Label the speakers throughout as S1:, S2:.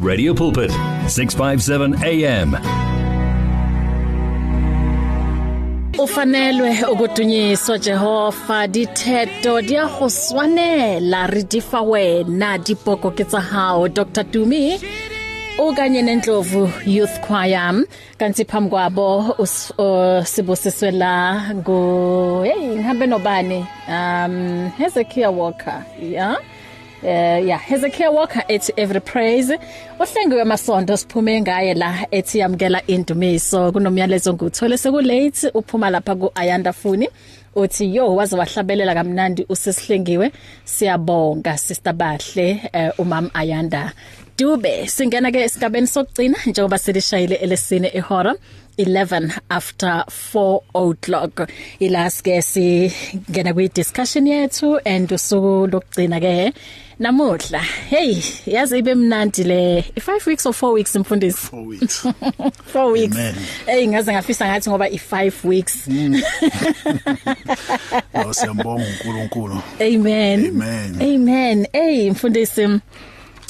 S1: Radio Pulpit, 657 AM.
S2: ufanelwe ukudunyiswa jehova ditheto di a go swanela re di fa wena dipoko ke tsa hao dr dumi o kanye nendlovu youth choir kanti phambi kwabo us- uh, sibusiswela ngo hey ngihambe nobani um hezekiah walker yeah Uh, yeah Hezekiah Walker ethi every praise uhlengiwe amasonto siphume ngaye la ethi yamkela indumiso kunomyalezo nguthole sekulate uphuma lapha kuAyanda Funi uthi yo waze wahlabelela kamnandi usesihlengiwe siyabonga sister Bahle eh, umam Ayanda Dube singena ke esigabeni sokugcina njengoba selishayile elesine ehora 11 after 4 o'clock ilaske si ngena kwi discussion yethu and usuku lokugcina ke namuhla hey yazi ibe mnandi le 5 weeks or 4 weeks mfundisi
S3: four weeks.
S2: 4 weeks
S3: Amen.
S2: hey ngaze ngafisa ngathi ngoba i5 weeks
S3: Oh siyambonga uNkulunkulu.
S2: Amen.
S3: Amen.
S2: Amen. Hey mfundisi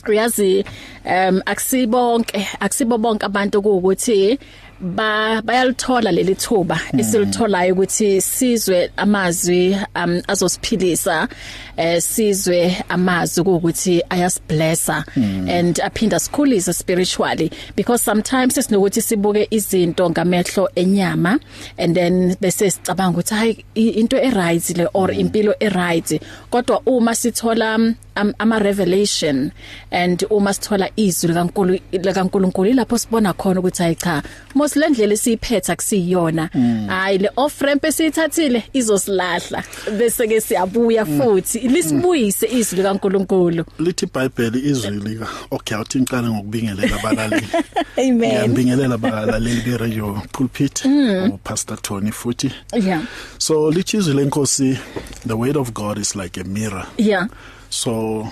S2: uyazi um akusibonke akusibo bonke abantu ukuthi ba bayalithola leli thuba esilitholayo ukuthi sizwe amazwi um azosiphilisa eh sizwe amazwi ukuthi ayasiblessa and aphinda sikhulise spiritually because sometimes sinokuthi sibuke izinto ngamehlo enyama and then bese sicabanga ukuthi hayi i- into eright le or impilo eright kodwa uma sithola mm, am- ama revelation and uma sithola izwi likaNkulu likaNkuluNkulu ilapho sibona khona ukuthi hayi cha mos le ndlela esiyiphetha kusiyona hayi le off ramp esiyithathile izosilahla bese ke siyabuya futhi lisibuyise izwi likaNkuluNkulu
S3: Lithi iBhayibheli izwi lika. Okay, awuthi ngiqale ngokubingelela abalaleli.
S2: amen
S3: Ngiyabingelela abalaleli be-radio pulpit u Pastor Tony futhi.
S2: yeah
S3: So lithi izwi lenkosi the word of God is like a mirror.
S2: yeah
S3: So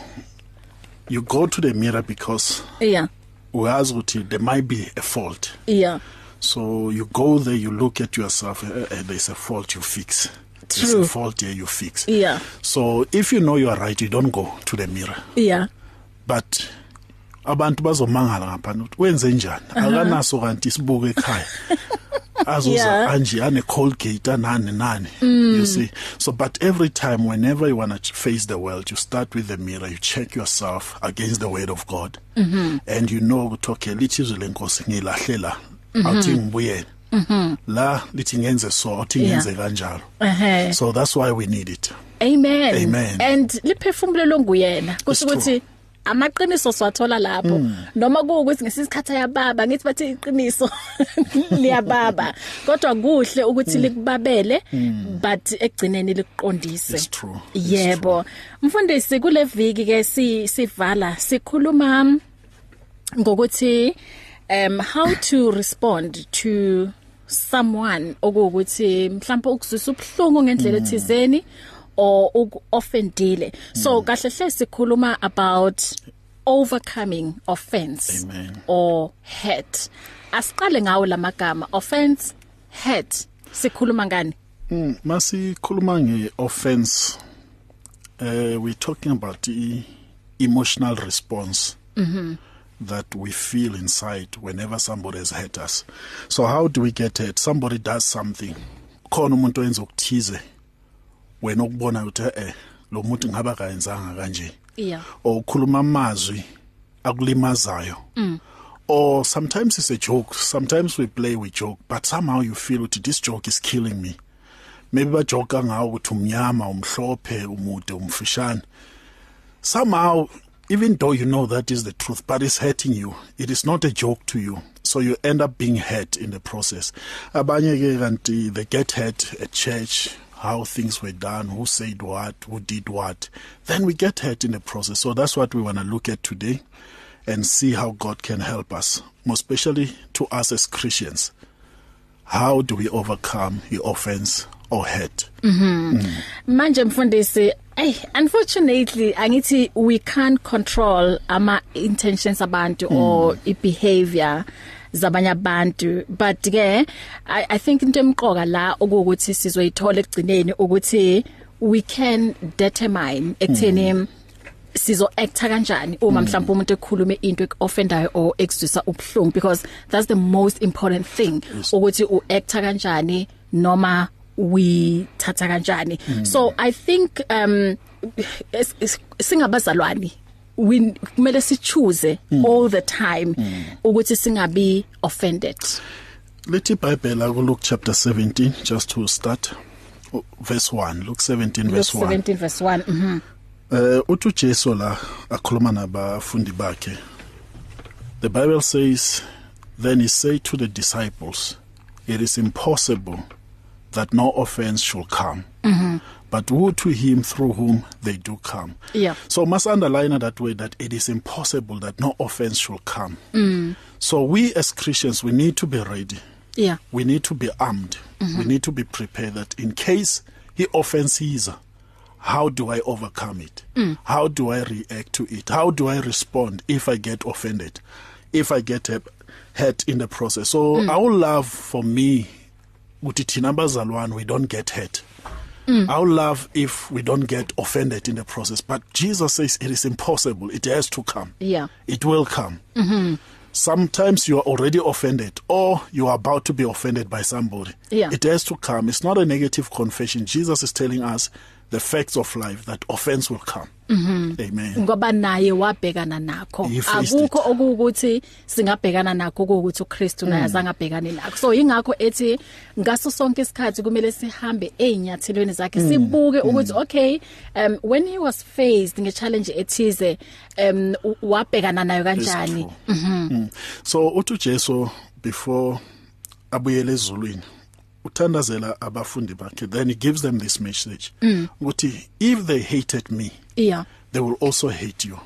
S3: you go to the mirror because
S2: yeah
S3: uyazi ukuthi there might be a fault.
S2: yeah
S3: So you go there you look at yourself uh, uh, there's a fault you fix.
S2: True.
S3: There's a fault here you fix.
S2: Yeah.
S3: So if you know you are right you don't go to the mirror.
S2: yeah
S3: but abantu bazomangala ngaphana ukuthi wenze njani akanaso kanti isibuko ekhaya azoza
S2: Yeah. Mm.
S3: kanje ane Colgate anani nani you see so but every time whenever you want to face the world you start with the mirror you check yourself against the word of God
S2: Mm-hmm.
S3: and you know ukuthi okay lithizwe lenkosi ngilahlela
S2: Mm-hmm.
S3: awuthi ngibuyele la lithi ngenze so awuthi
S2: Yeah. Eh.
S3: ngenze kanjalo
S2: ehe
S3: so that's why we need it
S2: Amen.
S3: Amen.
S2: And liphefumulo longuyena kusho
S3: It's
S2: ukuthi amaqiniso siwathola lapho noma kuukuthi ngesisikhatha yababa ngithi bathi iqiniso liyababa kodwa kuhle ukuthi likubabele but ekugcineni likuqondise
S3: It's true. It's
S2: yebo mfundisi kule viki ke si sivala sikhuluma ngokuthi um how to respond to someone okuwukuthi mhlawumbe ukuzwisa ubhlungu ngendlela
S3: Mm.
S2: ethizeni or uku-offendile
S3: Mm.
S2: so kahle hle sikhuluma about overcoming offense
S3: Amen.
S2: or hurt asiqale ngawo lamagama offense hurt sikhuluma ngani
S3: Mm, masikhuluma ngeoffense eh we talking about the emotional response that we feel inside whenever somebody has hurt us so how do we get hurt somebody does something khona umuntu oyenza ukuthize wena ukubona ukuthi eh, eh lo muntu ngaba kayenzanga kanje
S2: yeah
S3: or ukhuluma amazwi akulimazayo or sometimes it's a joke sometimes we play with joke but somehow you feel ukuthi this joke is killing me maybe bajoka ngawo ukuthi umnyama umhlophe umude umfishane somehow even though you know that is the truth but it's hurting you it is not a joke to you so you end up being hurt in the process abanye ke kanti they get hurt at church how things were done who said what who did what then we get hurt in the process so that's what we want to look at today and see how God can help us more especially to us as Christians how do we overcome the offense or hurt
S2: manje mfundisi Hey, unfortunately angithi we can't control ama intentions abantu mm. or i behavior zabanye abantu but ke I, i think into emqoka la okuthi sizoyithola ekugcineni ukuthi we can determine ekutheni mm. sizo acta kanjani uma mhlawumbe umuntu ekhulume into ekofendayo or exusa ubhlungu because that's the most important thing ukuthi u acta kanjani noma we thatha kanjani so i think um es- es- singabazalwane we kumele sichoose all the time ukuthi singabi offended
S3: Lithi iBhayibhela ku uh, Luke chapter 17 just to start u- verse 1 Luke 17
S2: Luke
S3: verse 1
S2: 17 verse 1 mhm
S3: Eh uthi uJesu la akhuluma nabafundi bakhe The Bible says then he said to the disciples it is impossible that no offense should come
S2: Mm-hmm.
S3: but woe to him through whom they do come
S2: Yeah.
S3: so must underline that way that it is impossible that no offense should come mm. so we as Christians we need to be ready
S2: yeah
S3: we need to be armed. Mm-hmm. We need to be prepared that in case he offends Caesar, how do I overcome it? Mm. How do I react to it? How do I respond if I get offended? If I get hep- hurt in the process? So mm. our love for me, Utitina Bazalwan, we don't get hurt. Mm. Our love if we don't get offended in the process. But Jesus says it is impossible. It has to come.
S2: Yeah.
S3: It will come. Mm-hmm. sometimes you are already offended or you are about to be offended by somebody.
S2: Yeah.
S3: It has to come. It's not a negative confession. Jesus is telling us the facts of life that offense will come. Mm-hmm. Amen.
S2: ngoba naye wabhekana nakho
S3: He faced it.
S2: akukho okuwukuthi singabhekana nakho ukuthi uKristu naye azange abhekane nakho so ingakho ethi ngaso sonke isikhathi kumele sihambe einyathelweni zakhe sibuke ukuthi okay um when he was faced nge-challenge ethize um u- wabhekana nayo kanjani
S3: Mm-hmm. Mm. So uthi Jesu before abuyele ezulwini uthandazela abafundi bakhe then he gives them this message ukuthi if they hated me
S2: yeah
S3: they will also hate you.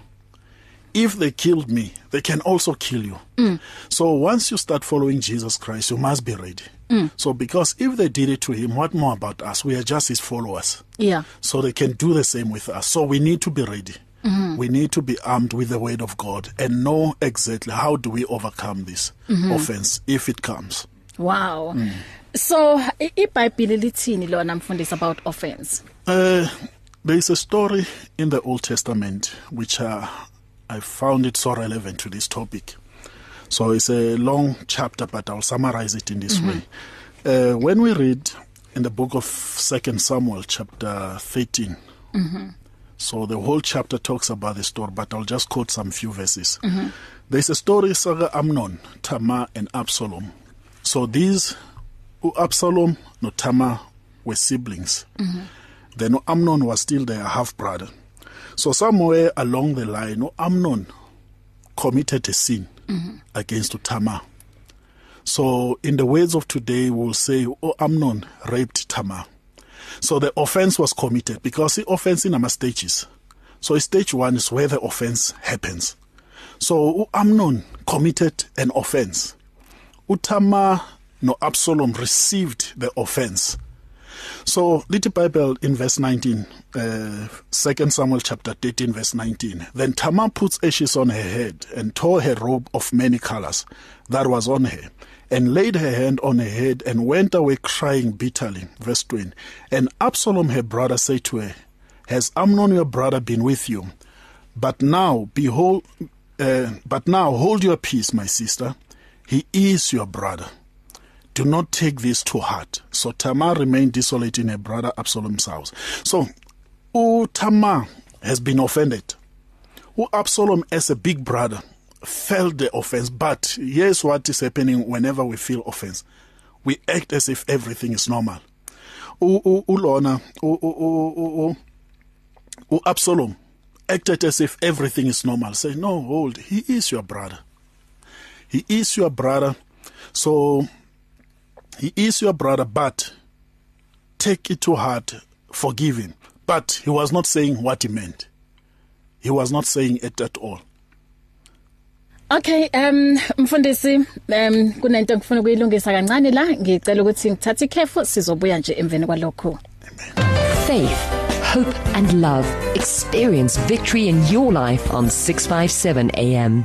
S3: If they killed me, they can also kill you. Mm. So once you start following Jesus Christ, you must be ready. Mm. So because if they did it to him, what more about us? We are just his followers.
S2: yeah
S3: So they can do the same with us. So we need to be ready. Mm-hmm. We need to be armed with the word of God and know exactly how do we overcome this mm-hmm. offense if it comes.
S2: wow mm. so i- iBhayibheli lithini lona mfundisi about offense
S3: Uh, there is a story in the Old Testament which uh, I found it so relevant to this topic. So it's a long chapter, but I'll summarize it in this way. Uh, when we read in the book of Second Samuel, chapter 13, mm-hmm. so the whole chapter talks about the story, but I'll just quote some few verses. Mm-hmm. There's a story saga Amnon, Tamar, and Absalom. So these, u- Absalom no Tamar, were siblings. Mm-hmm. then Amnon was still their half brother. So somewhere along the line, Amnon committed a sin against Tamar. So in the words of today, we'll say, "Oh, Amnon raped Tamar." So the offense was committed because the offense in our stages. So stage one is where the offense happens. So Amnon committed an offense. Utamar no Absalom received the offense. So, little Bible in verse 19, uh, 2 Samuel chapter 13, verse 19. Then Tamar puts ashes on her head and tore her robe of many colors that was on her, and laid her hand on her head and went away crying bitterly. Verse 20. And Absalom her brother said to her, Has Amnon your brother been with you? But now, behold, uh, but now hold your peace, my sister. He is your brother. Do not take this to heart. So Tamar remained desolate in her brother Absalom's house. So, oh, Tamar has been offended. Who Absalom, as a big brother, felt the offense. But here's what is happening whenever we feel offense we act as if everything is normal. Oh, oh, oh, Lorna, oh, oh, oh, oh, oh. Oh, Absalom acted as if everything is normal. Say, no, hold, he is your brother. He is your brother. So he is your brother, but take it to heart, forgive him. But he was not saying what he meant. He was not saying it at all.
S2: Okay um mfundisi um kunento ngifuna ukuyilungisa kancane la ngicela ukuthi ngithathe ikhefu sizobuya nje emveni kwalokho
S4: Faith, hope, and love. Experience victory in your life on 657 AM.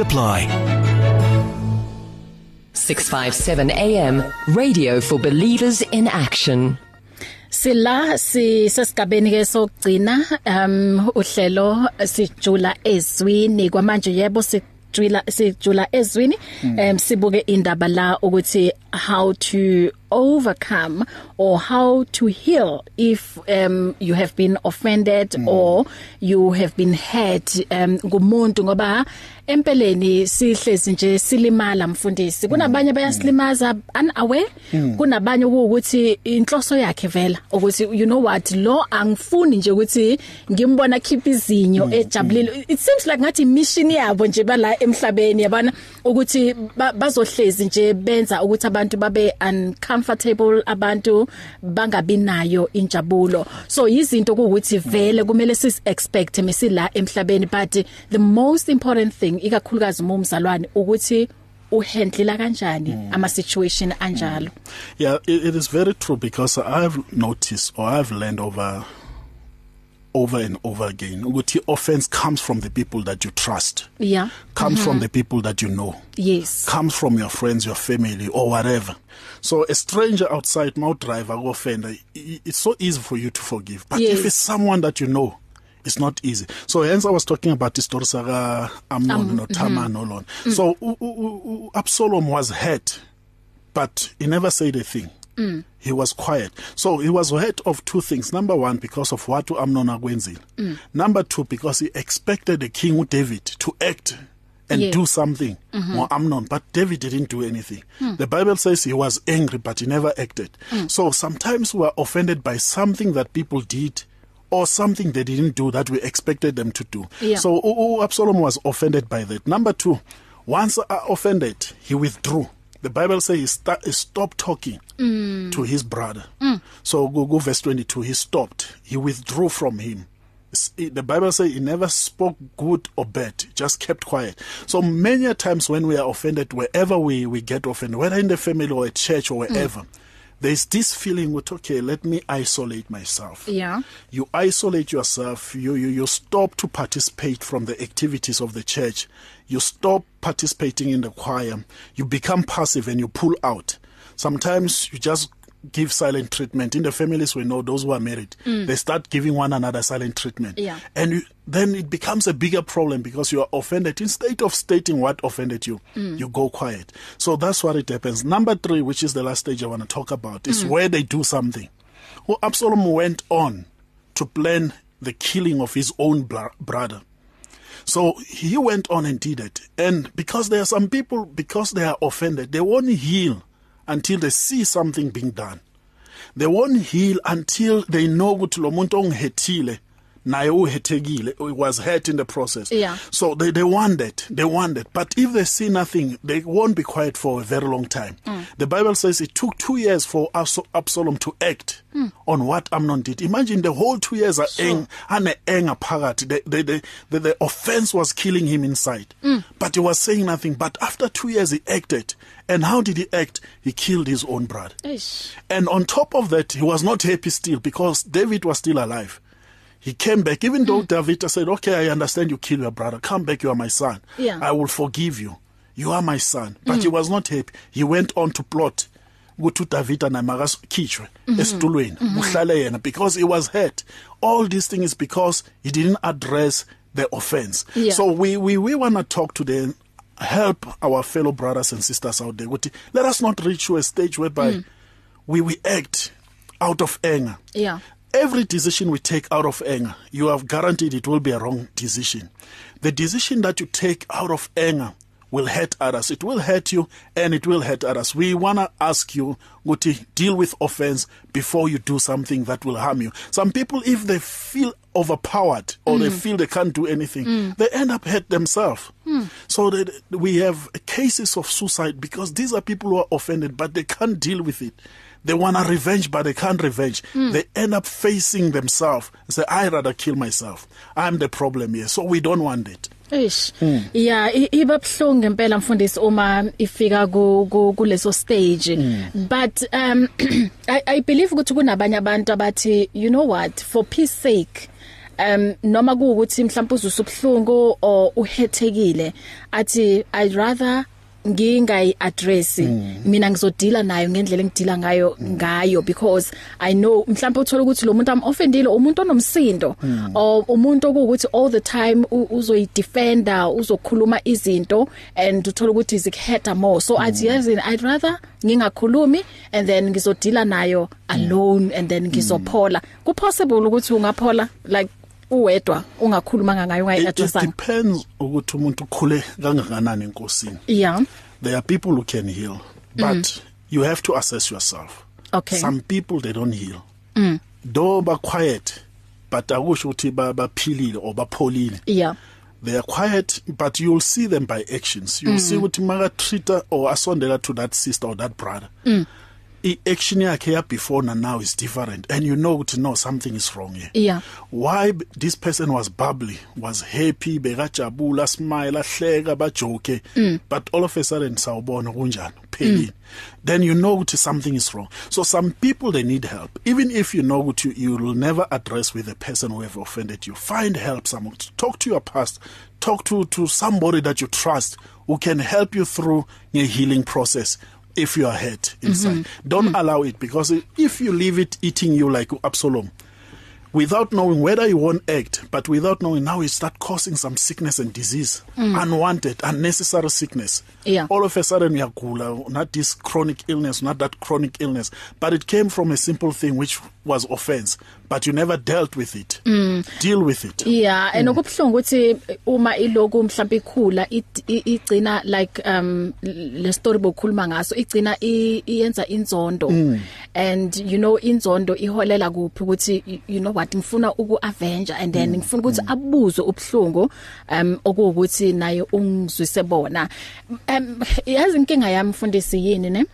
S5: apply.
S4: 657 AM, radio for believers in action.
S2: sila si sesigabeni ke sokugcina um uhlelo sijula ezwini kwamanje yebo sijula sijula ezwini um sibuke indaba la ukuthi how to overcome or how to heal if um you have been offended mm. or you have been hurt um ngumuntu ngoba empeleni sihlezi nje silimala mfundisi kunabanye bayasilimaza unaware kunabanye ukuthi inhloso yakhe vela ukuthi you know what lo angifuni nje ukuthi ngimbona khipha izinyo ejabulile it seems like ngathi mission yabo nje bala emhlabeni yabana ukuthi ba- bazohlezi nje benza ukuthi abantu babe uncomfortable abantu bangabi nayo injabulo so izinto ukuthi vele kumele sis expect misila emhlabeni but the most important thing ikakhulukazi uma umzalwane ukuthi uhandlela kanjani ama situation anjalo
S3: Yeah, it, it is very true because I've noticed or I've learned over over and over again ukuthi offense comes from the people that you trust,
S2: yeah
S3: comes mm-hmm. from the people that you know,
S2: yes
S3: comes from your friends, your family or whatever. So a stranger outside mouth driver or offender, i- it's so easy for you to forgive. But yes.
S2: Yes.
S3: if it's someone that you know, it's not easy. So hence I was talking about the stories of uh, Amnon um, no Tamar mm-hmm. no Lon. Mm. So u- u- u- u- Absalom was hurt but he never said a thing. Mm. He was quiet. So he was hurt of two things. Number one, because of what Amnon Agwenzil. Mm. Number two, because he expected the king David to act and
S2: Yeah.
S3: yeah. do something mm-hmm. more Amnon. But David didn't do anything. Mm. The Bible says he was angry, but he never acted. Mm. So sometimes we are offended by something that people did or something they didn't do that we expected them to do.
S2: Yeah.
S3: So oh, oh, Absalom was offended by that. Number two, once uh, offended, he withdrew. The Bible says he, st- he stopped talking mm. to his brother. Mm. So go, go verse 22. He stopped. He withdrew from him. S- it- The Bible says he never spoke good or bad, just kept quiet. So many a times when we are offended, wherever we, we get offended, whether in the family or at church or wherever, mm. there's this feeling with, okay, let me isolate myself
S2: yeah
S3: you isolate yourself you, you you stop to participate from the activities of the church you stop participating in the choir you become passive and you pull out sometimes you just give silent treatment in the families we know those who are married mm. they start giving one another silent treatment
S2: Yeah.
S3: and you, then it becomes a bigger problem because you are offended instead of stating what offended you you go quiet so that's what it happens number 3 which is the last stage i want to talk about is mm. where they do something well, Absalom went on to plan the killing of his own bla- brother. So he went on and did it. And because there are some people, because they are offended, they won't heal until they see something being done. They won't heal until they know ukuthi lo muntu ongihethile naye uhethekile he was hurt in the process.
S2: Yeah.
S3: So they they want that. They want that. But if they see nothing, they won't be quiet for a very long time. Mm. The Bible says it took 2 years for Abs- Absalom to act mm. on what Amnon did. Imagine the whole 2 years are sure. ang ane anger phakathi. The the, the the the offense was killing him inside. Mm. But he was saying nothing. But after 2 years he acted. And how did he act? He killed his own brother.
S2: Eish.
S3: And on top of that, he was not happy still because David was still alive. He came back, even though David said, Okay, I understand you killed your brother. Come back, you are my son.
S2: Yeah.
S3: I will forgive you. You are my son. But he was not happy. He went on to plot ukuthi uDavid namakakhitshwe esitulweni uhlale yena because he was hurt. All these things is because he didn't address the offense.
S2: Yeah.
S3: So we we we want to talk to them help our fellow brothers and sisters out there ukuthi let us not reach to a stage whereby mm. we we act out of anger
S2: Yeah.
S3: every decision we take out of anger you have guaranteed it will be a wrong decision the decision that you take out of anger will hurt others. It will hurt you and it will hurt others. We want to ask you to deal with offense before you do something that will harm you. Some people, if they feel overpowered or they feel they can't do anything, they end up hurt themselves. So that we have cases of suicide because these are people who are offended but they can't deal with it. They want to revenge, but they can't revenge. They end up facing themselves. and Say, I rather kill myself. I'm the problem here. So we don't want it.
S2: Eish. Yeah, i- iba bhlungu ngempela mfundisi uma ifika ku ku- kuleso stage. But um I I believe ukuthi kunabanye abantu abathi you know what for peace sake um noma kuukuthi mhlawumbe uzusa ubhlungu or uhethekile athi I'd rather ngingayi address
S3: Mm.
S2: mina ngizodila nayo ngendlela engidila ngayo ngayo because i know mhlawumbe uthola ukuthi lo muntu am offendile umuntu onomsindo
S3: Mm.
S2: or umuntu okuthi all the time u- uzoyi defender uzokhuluma izinto and uthola ukuthi izikuheta more so at
S3: Mm.
S2: yes i'd rather ngingakhulumi and then ngizodila nayo alone and then
S3: Mm.
S2: ngizophola kuphossible ukuthi ungaphola like uwedwa ungakhuluma ngayo ungayi
S3: It, it
S2: addressanga
S3: depends ukuthi umuntu ukhule kangakanani enkosini.
S2: yeah
S3: There are people who can heal, but you have to assess yourself.
S2: Okay.
S3: Some people they don't heal. Though ba quiet, but akusho ukuthi ba- baphilile or bapholile.
S2: yeah
S3: they are quiet but you'll see them by actions you'll mm. see ukuthi maka treater or asondela to that sister or that brother mm. i-action yakhe ya before na now is different and you know ukuthi no something is wrong here
S2: Yeah.
S3: why b- this person was bubbly was happy bekajabula smile ahleka bajoke mm. but all of a sudden sawubona kunjani kuphelile mm. then you know ukuthi something is wrong so some people they need help even if you know ukuthi you will never address with the person who have offended you find help someone talk to your past talk to to somebody that you trust who can help you through a healing process if you are hurt inside mm-hmm. don't mm-hmm. allow it because i- if you leave it eating you like Absalom without knowing whether you won't act, but without knowing now you start causing some sickness and disease, unwanted, unnecessary sickness.
S2: Yeah.
S3: All of a sudden you are gula, not this chronic illness, not that chronic illness, but it came from a simple thing which was offense, but you never dealt with it. Deal with it.
S2: Yeah, and okubhlungu ukuthi eh, uma iloku mhlawumbe ikhula it- i- igcina like um le story bokukhuluma ngaso igcina i- iyenza inzondo. And you know inzondo iholela kuphi ukuthi y- you know what ngifuna uku avenger and then ngifuna ukuthi abuzwe ubhlungu um okuwukuthi naye ungizwise bona. Um yazi inkinga yami mfundisi yini ne?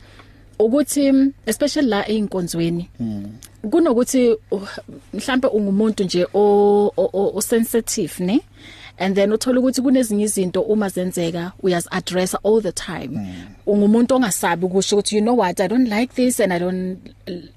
S2: ukuthi especially la einkonzweni kunokuthi uh, mhlambe ungumuntu nje o o- o o sensitive ne and then uthola ukuthi kunezinye izinto uma zenzeka uyazi address all the time ungumuntu ongasabi ukusho ukuthi you know what i don't like this and i don't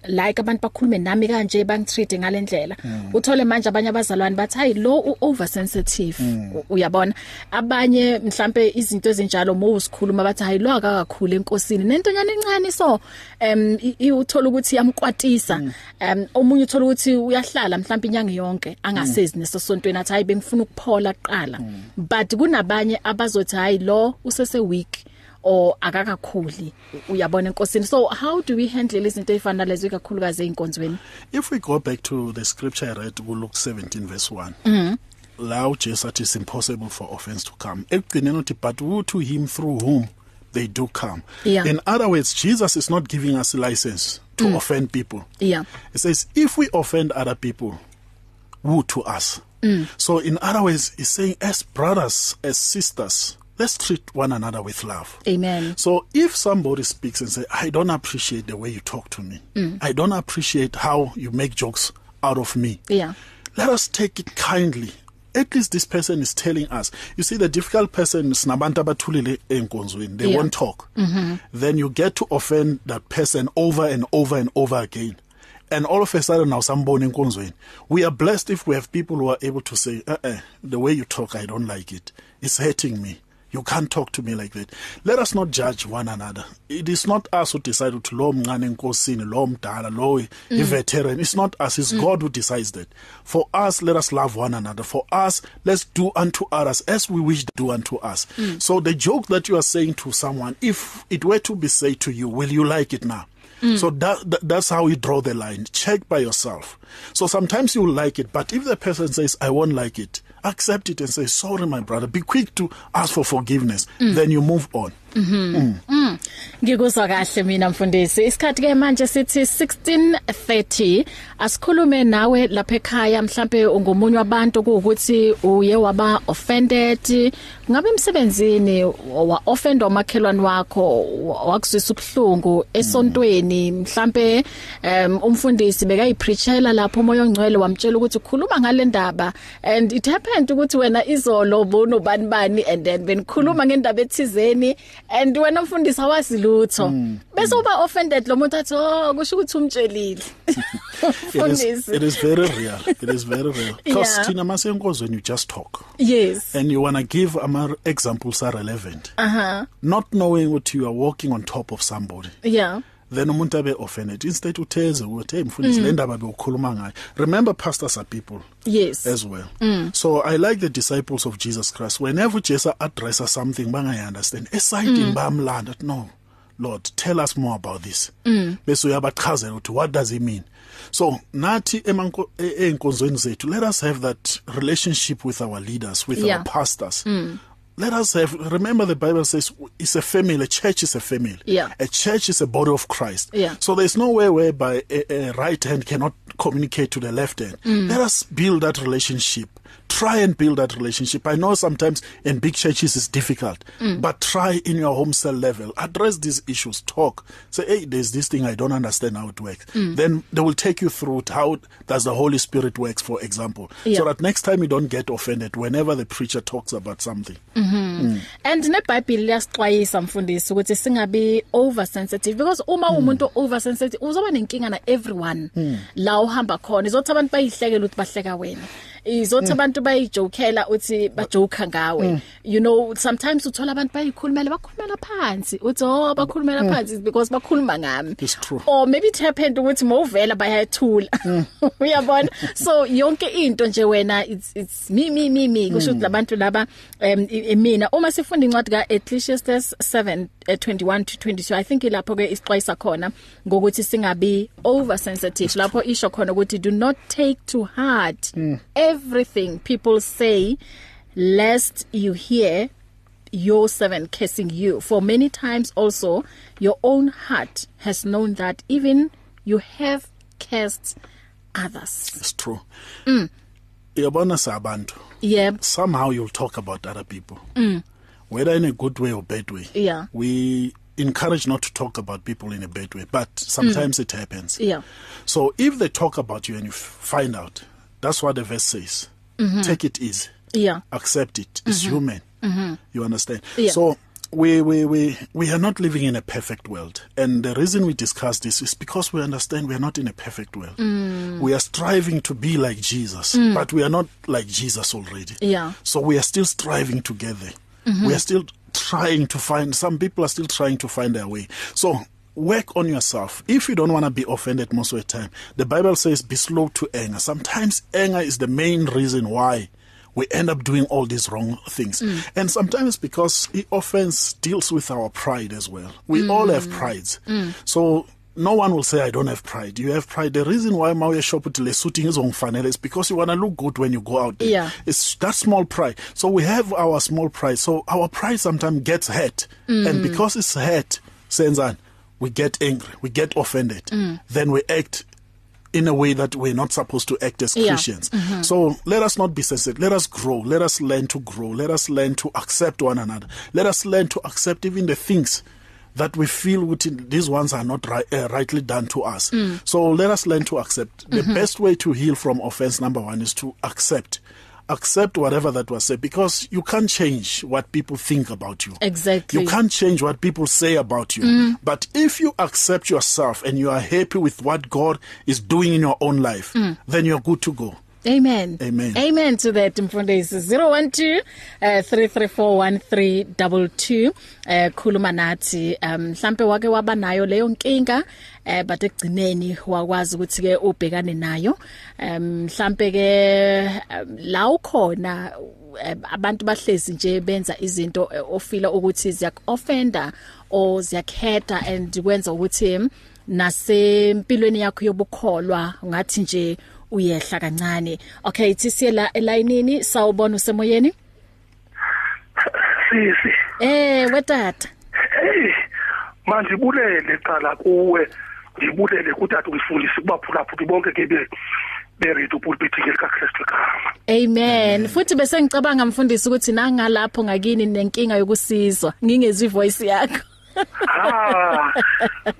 S2: like abantu bakhulume nami kanje bangitreat ngalendlela uthole manje abanye abazalwane bathi hayi lo u oversensitive U- uyabona abanye mhlambe izinto ezinjalo mowusikhuluma bathi hayi lo akakakhulu enkosini nento nyana encane so em i- i- uthola ukuthi yamkwatisa em omunye uthola ukuthi uyahlala mhlawumbe inyanga yonke angasezi nesosontweni athi hayi bengifuna ukuphola kuqala but kunabanye abazothi hayi lo usese week or akakakhuli uyabona enkosini so how do we handle izinto ezifana lezo kakhulukazi einkonzweni
S3: If we go back to the scripture I read, we look 17 verse 1. Mm. Lao Jesus it is impossible for offense to come. Ekugcineni uthi, But who to him through whom they do come.
S2: Yeah.
S3: In other words, Jesus is not giving us a license to mm. offend people.
S2: yeah
S3: It says, if we offend other people, who to us? Mm. So, in other words, it's saying, as brothers, as sisters, let's treat one another with love.
S2: amen
S3: So if somebody speaks and say, "I don't appreciate the way you talk to me.
S2: Mm.
S3: I don't appreciate how you make jokes out of me."
S2: yeah
S3: Let us take it kindly. At least this person is telling us. You see, the difficult person is nabantu abathulile enkonzweni. They
S2: Yeah.
S3: won't talk. Mm-hmm. Then you get to offend that person over and over and over again. And all of a sudden now sambona enkonzweni. We are blessed if we have people who are able to say, uh-uh, the way you talk, I don't like it. It's hurting me. You can't talk to me like that. Let us not judge one another. It is not us who decide ukuthi lo mncane enkosini, lo mdala, lo i veteran. It's not us, it's God who decides that. For us, let us love one another. For us, let's do unto others as we wish to do unto us. So the joke that you are saying to someone, if it were to be said to you, will you like it now? So that, that that's how you draw the line. Check by yourself. So sometimes you will like it, but if the person says, "I won't like it," accept it and say sorry my brother be quick to ask for forgiveness mm. then you move on
S2: ngikuzwa kahle mina mfundisi isikhathi ke manje sithi 16:30 asikhulume nawe lapha ekhaya mhlambe ungomunye wabantu ukuthi uye waba offended ngabe emsebenzini wa offend omakhelwane wakho wa- wakuzwisa ubhlungu esontweni mhlambe um, umfundisi bekayipreachela lapho umoya ongcwele wamtshela ukuthi khuluma ngale ndaba and it happened ukuthi wena izolo bono bani bani and then benikhuluma ngendaba ethizeni and wena mfundisi awazi lutho
S3: Mm.
S2: bese uba offended lo muntu athi oh kusho ukuthi umtshelile
S3: it is,
S2: mfundisi
S3: it is very real it is very real because
S2: Yeah.
S3: thina masenkozweni you just talk
S2: yes
S3: and you want to give ama examples are relevant uh-huh. not knowing what you are walking on top of somebody
S2: yeah
S3: then umuntu abe offended instead utheze ukuthi hey mfundisi mm. le ndaba bewukhuluma ngayo remember pastors are people
S2: yes
S3: as well mm. so i like the disciples of jesus christ whenever jesus addresses something bangayi understand esayidini mm. bayamlanda athi, no lord tell us more about this mm. bese uyabachazela ukuthi what does it mean so nathi emanko- e- ey'nkonzweni zethu let us have that relationship with our leaders with
S2: Yeah.
S3: our pastors mm. Let us have, remember the Bible says it's a family, a church is a family.
S2: Yeah.
S3: A church is a body of Christ.
S2: Yeah.
S3: So there's no way whereby a, a right hand cannot communicate to the left hand. Mm. Let us build that relationship. Try and build that relationship. I know sometimes in big churches it's difficult, mm. but try in your home cell level. Address these issues. Talk. Say, hey, there's this thing I don't understand how it works. Mm. Then they will take you through it. How does the Holy Spirit works, for example,
S2: Yeah.
S3: so that next time you don't get offended whenever the preacher talks about something.
S2: and neBhayibheli liyasixwayisa mfundisi ukuthi singabi oversensitive because
S3: Mm.
S2: uma umuntu oversensitive uzoba nenkinga na everyone la uhamba khona izothi abantu bayihlekela ukuthi bahleka wena
S3: Mm.
S2: izothi abantu bayijokela uthi bajoka ngawe you know sometimes uthola abantu bayikhulumela bakhulumela phansi uthi oh bakhulumela phansi because bakhuluma ngami
S3: Mm. It's true.
S2: or maybe it happened ukuthi mawuvela bayathula uyabona so yonke into nje wena it's it's me me me me kusho ukuthi labantu laba um, i- i- mina uma sifunda incwadi ka Ecclesiastes 7:21 to 22 i think ilapho ke isixwayisa khona ngokuthi singabi oversensitive lapho isho khona ukuthi do not take to heart everything people say lest you hear your servant cursing you for many times also your own heart has known that even you have cursed others
S3: It's true. Mm. Uyabona sabantu.
S2: yeah
S3: somehow you'll talk about other people, whether in a good way or bad way.
S2: Mm. Yeah.
S3: we encourage not to talk about people in a bad way, but sometimes it happens.
S2: Mm. yeah
S3: So if they talk about you and you f- find out, that's what the verse says.
S2: Mm-hmm.
S3: Take it easy,
S2: yeah
S3: accept it. It's human. You understand?
S2: Mm-hmm. Yeah.
S3: So. We, we, we, we are not living in a perfect world. And the reason we discuss this is because we understand we are not in a perfect world.
S2: Mm.
S3: We are striving to be like Jesus, but we are not like Jesus already.
S2: Yeah.
S3: So we are still striving together. We are still trying to find, some people are still trying to find their way. So work on yourself. If you don't want to be offended most of the time, the Bible says be slow to anger. Sometimes anger is the main reason why we end up doing all these wrong things. And sometimes because i- offense deals with our pride as well. We all have prides. So no one will say I don't have pride. You have pride. The reason why Mawuya Shoputi Lesutting is on funnel is because you want to look good when you go out there.
S2: Yeah.
S3: It's that small pride. So we have our small pride. So our pride sometimes gets hurt. And because it's hurt, Senzan, we get angry, we get offended. Then we act in a way that we're not supposed to act as
S2: Yeah.
S3: Christians. So let us not be sensitive. Let us grow. Let us learn to grow. Let us learn to accept one another. Let us learn to accept even the things that we feel within, these ones are not ri- uh, rightly done to us. So let us learn to accept. The best way to heal from offense, number one, is to accept. Accept whatever that was said because you can't change what people think about you.
S2: Exactly.
S3: You can't change what people say about you. But if you accept yourself and you are happy with what God is doing in your own life, then you're good to go.
S2: Amen.
S3: Amen.
S2: Amen to that mfundisi 012 uh, 3341322 eh khuluma nathi um, mhlambe wake waba nayo leyo nkinga eh but ekugcineni wakwazi ukuthi ke ubhekane nayo um, mhlambe ke um, la ukhona eh, abantu bahlezi nje benza izinto eh, ofila ukuthi ziyakuoffenda or ziyakhetha hmm, and kwenza ukuthi nasempilweni yakho yobukholwa ngathi nje uyehla kancane okay ithi siyela elayinini sawubona usemoyeni
S6: sisi
S2: eh wetata
S6: hey mandibulele qala kuwe ngibulele kutata umfundisi kubaphulaphuli bonke ke be beridu pulpiti likaKristu kama
S2: amen futhi bese ngicabanga mfundisi ukuthi nangalapho ngakini nenkinga yokusizwa ngingezwi voice yakho
S6: ha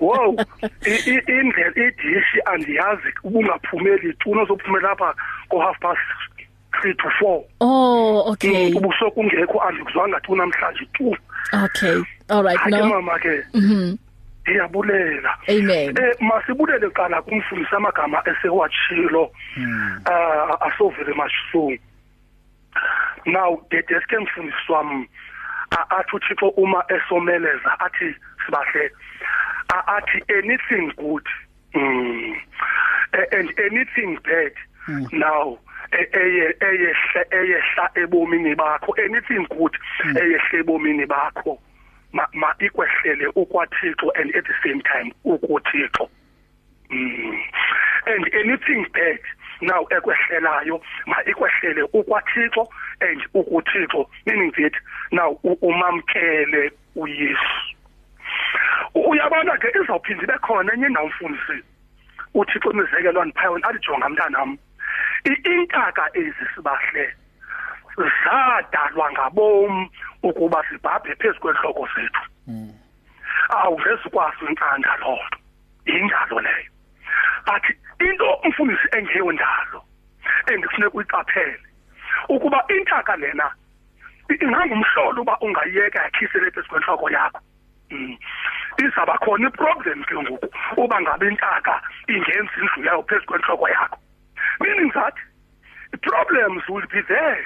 S6: wow I- i- indlela idishi andiyazi ubungaphumeli tu unozophumela lapha ko half past 3 to 4
S2: oh okay
S6: ubuso kungekho andikuzwanga tu namhlanje tu
S2: okay all right
S6: hayi
S2: no
S6: mama ke mhm iyabulela
S2: amen
S6: Eh masibulele qala kumfundisa amagama esewatshilo ah asovele mashungu Now dedeske mfundisi wami a- athi uThixo uma esomeleza athi sibahle a- athi anything good mm, a- and anything bad now e- eye- eyehla eyehla ebomini bakho anything good eyehla ebomini bakho ma ma ikwehlele ukwaThixo and at the same time ukuThixo Mm. and anything bad now ekwehlelayo maikwehlele ukwathixo and ukuthixo meaning that now u- umamkele uyesu U- uyabona ke izawuphinda ibe khona enye indawo mfundisi uthixo imizekelo andiphayona alijonga mntanam iintaka ezi sibahle zadalwa ngabom ukuba sibhabhe phezu kwentloko zethu awuvezi ukwazi intsanda loo nto yindalo leyo but into umfundisi engeyondalo endifuneka uyiqaphele ukuba intaka lena i- ingangumhlolo uba ungayiyeka yakhisele phezu kwentloko yakho Mm. izawuba khona iproblem ke ngoku uba ngabe intaka ingenza indlu yayo phezu kwentloko yakho meaning that problems will be there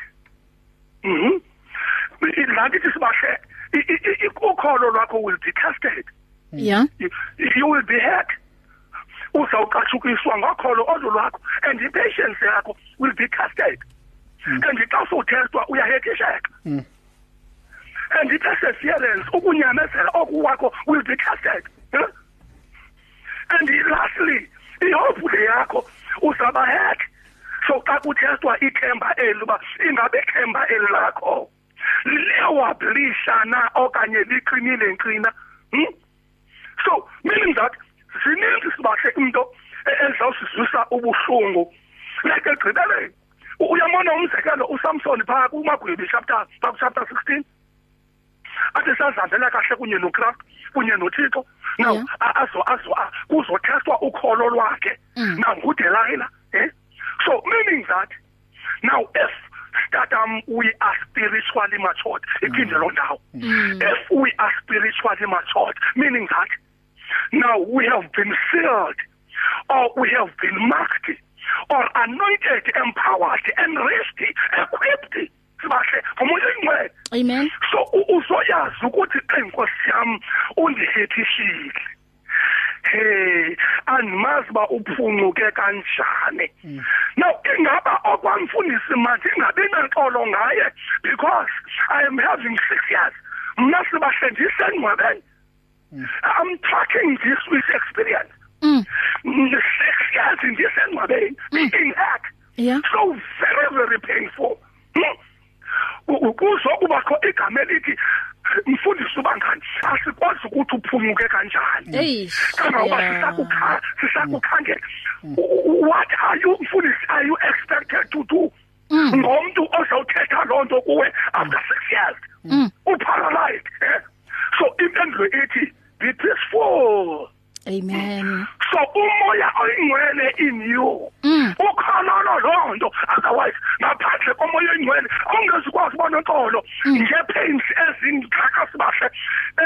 S6: Mhm. Ngathi sibahle i- i- i- ukholo lwakho will be tested.
S2: yeah
S6: You you will be hurt. Uzawuqashukiswa ngokholo olu lwakho and impatience yakho will be tested. And xa sowuthestwa uyahekisheka. And perseverance ukunyamezela okuwakho will be tested. Huh? And lastly, ihope le yakho uzaba hurt. So xa kuthestwa ithemba eli uba ingabe ithemba eli lakho liyawablisha na okanye liqinile nkqina. Hmm? So meaning that zininzi sibahle into e- ezawusizwisa ubuhlungu like egqibeleni u- uyabona umzekelo uSamson phaa kumagwebi chapter phaa chapter 16 athi sazihambela kahle kunye noChrist kunye noThixo now
S2: Yeah.
S6: a- azo azo a- kuzothestwa ukholo lwakhe nanguDelila eh so meaning that now if stardom we are spiritually matured iphinde loo ndawo if we are spiritually matured meaning that now we have been sealed or we have been marked or anointed empowered enriched equipped sibahle ngomoya oyingcwele
S2: amen
S6: so u- uzoyazi ukuthi eyi nkosi yami undihethishile hey andimazi uba uphunuke kanjani now ingaba okwamfundisi manje ingabi naxolo ngaye because i am having six years mna sibahle ndisengcwebeni i'm talking this with experience Mm, six years ndisengcwebeni in act
S2: Yeah.
S6: so very very painful Hmm. U- kuzo kubakho igama elithi mfundisi ubangani asikwazi ukuthi uphumuke kanjani
S2: hey
S6: kangoba
S2: yeah.
S6: sisakukha- sisakukhangela U- u- what are you mfundisi are you expected to do ngomntu ozawuthetha loo nto kuwe after six years uparalyzed eh? so impendulo ithi be peaceful
S2: amen
S6: so umoya oyingcwele in you ukhalalo loo nto otherwise ngaphandle komoya oyingcwele ungezukwazi ubona nkolo ngee-pains ezindaka sibahle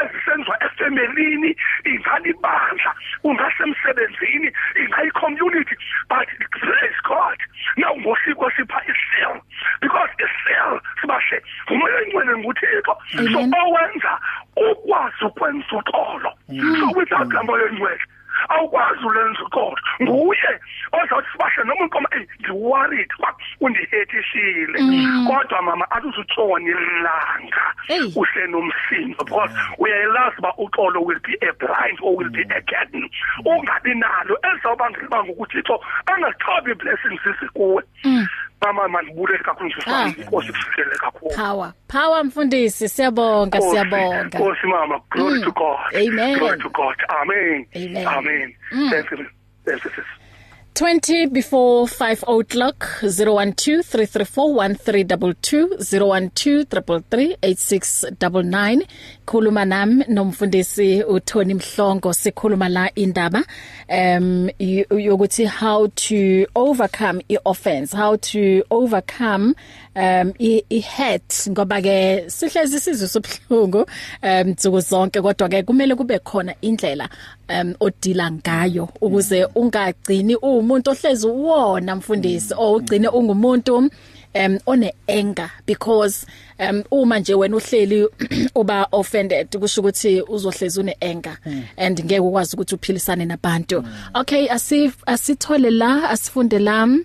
S6: ezisenziwa efemelini ingalibandla ungasemsebenzini ingayicommunity but praise god nawungosiko sipha isel because isel sibahle umoya oyingcwele nguthixo so
S2: Amen.
S6: owenza ukwazi ukwenza uxolo so without laa moya oyingcwele awukwazi ulenza uxolo nguye ozawuthi sibahle noma inkomo eyi ndiworried uba undihetishile kodwa mama athi uzutshoni langa
S2: Eyi.
S6: uhle nomsindo because uyayilazi uba uxolo will be a blind or will be
S2: Mm.
S6: a garden ungabi nalo elizawubangela uba ngokuthixo angazithobi blessings zisikuwe mama mandibulele kakhulu
S2: Mm. Ah.
S6: njesifana inkosi kufikele kakhulu
S2: power power mfundisi siyabonga
S6: Nkosi,
S2: siyabonga
S6: Nkosi mama, glory
S2: Mm.
S6: to God.
S2: Amen.
S6: Glory to God. Amen.
S2: Amen. Mm.
S6: Amen. Thank you. Thank you. sis.
S2: 20 before 5 o'clock 0123341322012338699 khuluma nami nomfundisi uThoni Mhlongo sikhuluma la indaba um y- yokuthi how to overcome ioffense how to overcome um i- i-hate ngoba ke sihlezi sizwe ubhlungu um nsuku zonke kodwa ke kumele kube khona indlela um odila ngayo ukuze ungagcini umuntu ohlezi uwona mfundisi owugcine ungumuntu um one anger because um uma nje wena uhleli uba offended kusho ukuthi uzohlezi une anger and ngeke ukwazi ukuthi uphilisane nabantu okay asif asithole la asifunde lami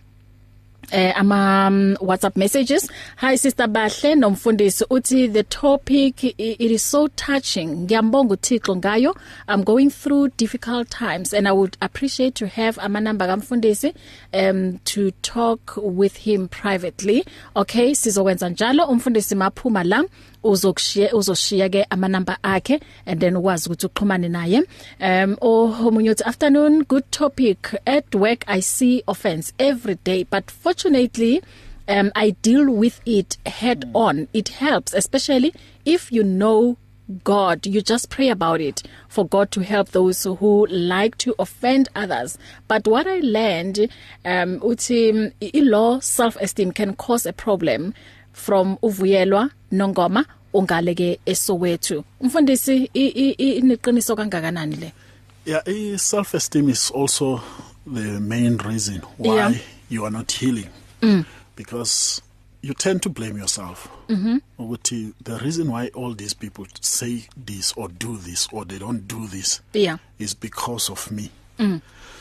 S2: eh ama mm, WhatsApp messages hi sister Bahle nomfundisi uthi the topic i- it is so touching ngiyambonga uThixo ngayo i'm going through difficult times and i would appreciate to have ama number kamfundisi um to talk with him privately okay sizokwenza njalo umfundisi maphuma la uzokushiya uzoshiya ke ama number akhe and then ukwazi ukuthi uxhumane naye um omunye uthi afternoon good topic at work i see offense every day but fortunately um i deal with it head mm. on it helps especially if you know God you just pray about it for God to help those who like to offend others but what i learned um uthi i low self esteem can cause a problem from uvuyelwa nongoma ungaleke esowethu mfundisi i- i- iniqiniso kangakanani le
S3: Yeah, eh, self-esteem is also the main reason why
S2: Yeah.
S3: you are not healing. Because you tend to blame yourself. Ukuthi The reason why all these people say this or do this or they don't do this
S2: yeah
S3: is because of me.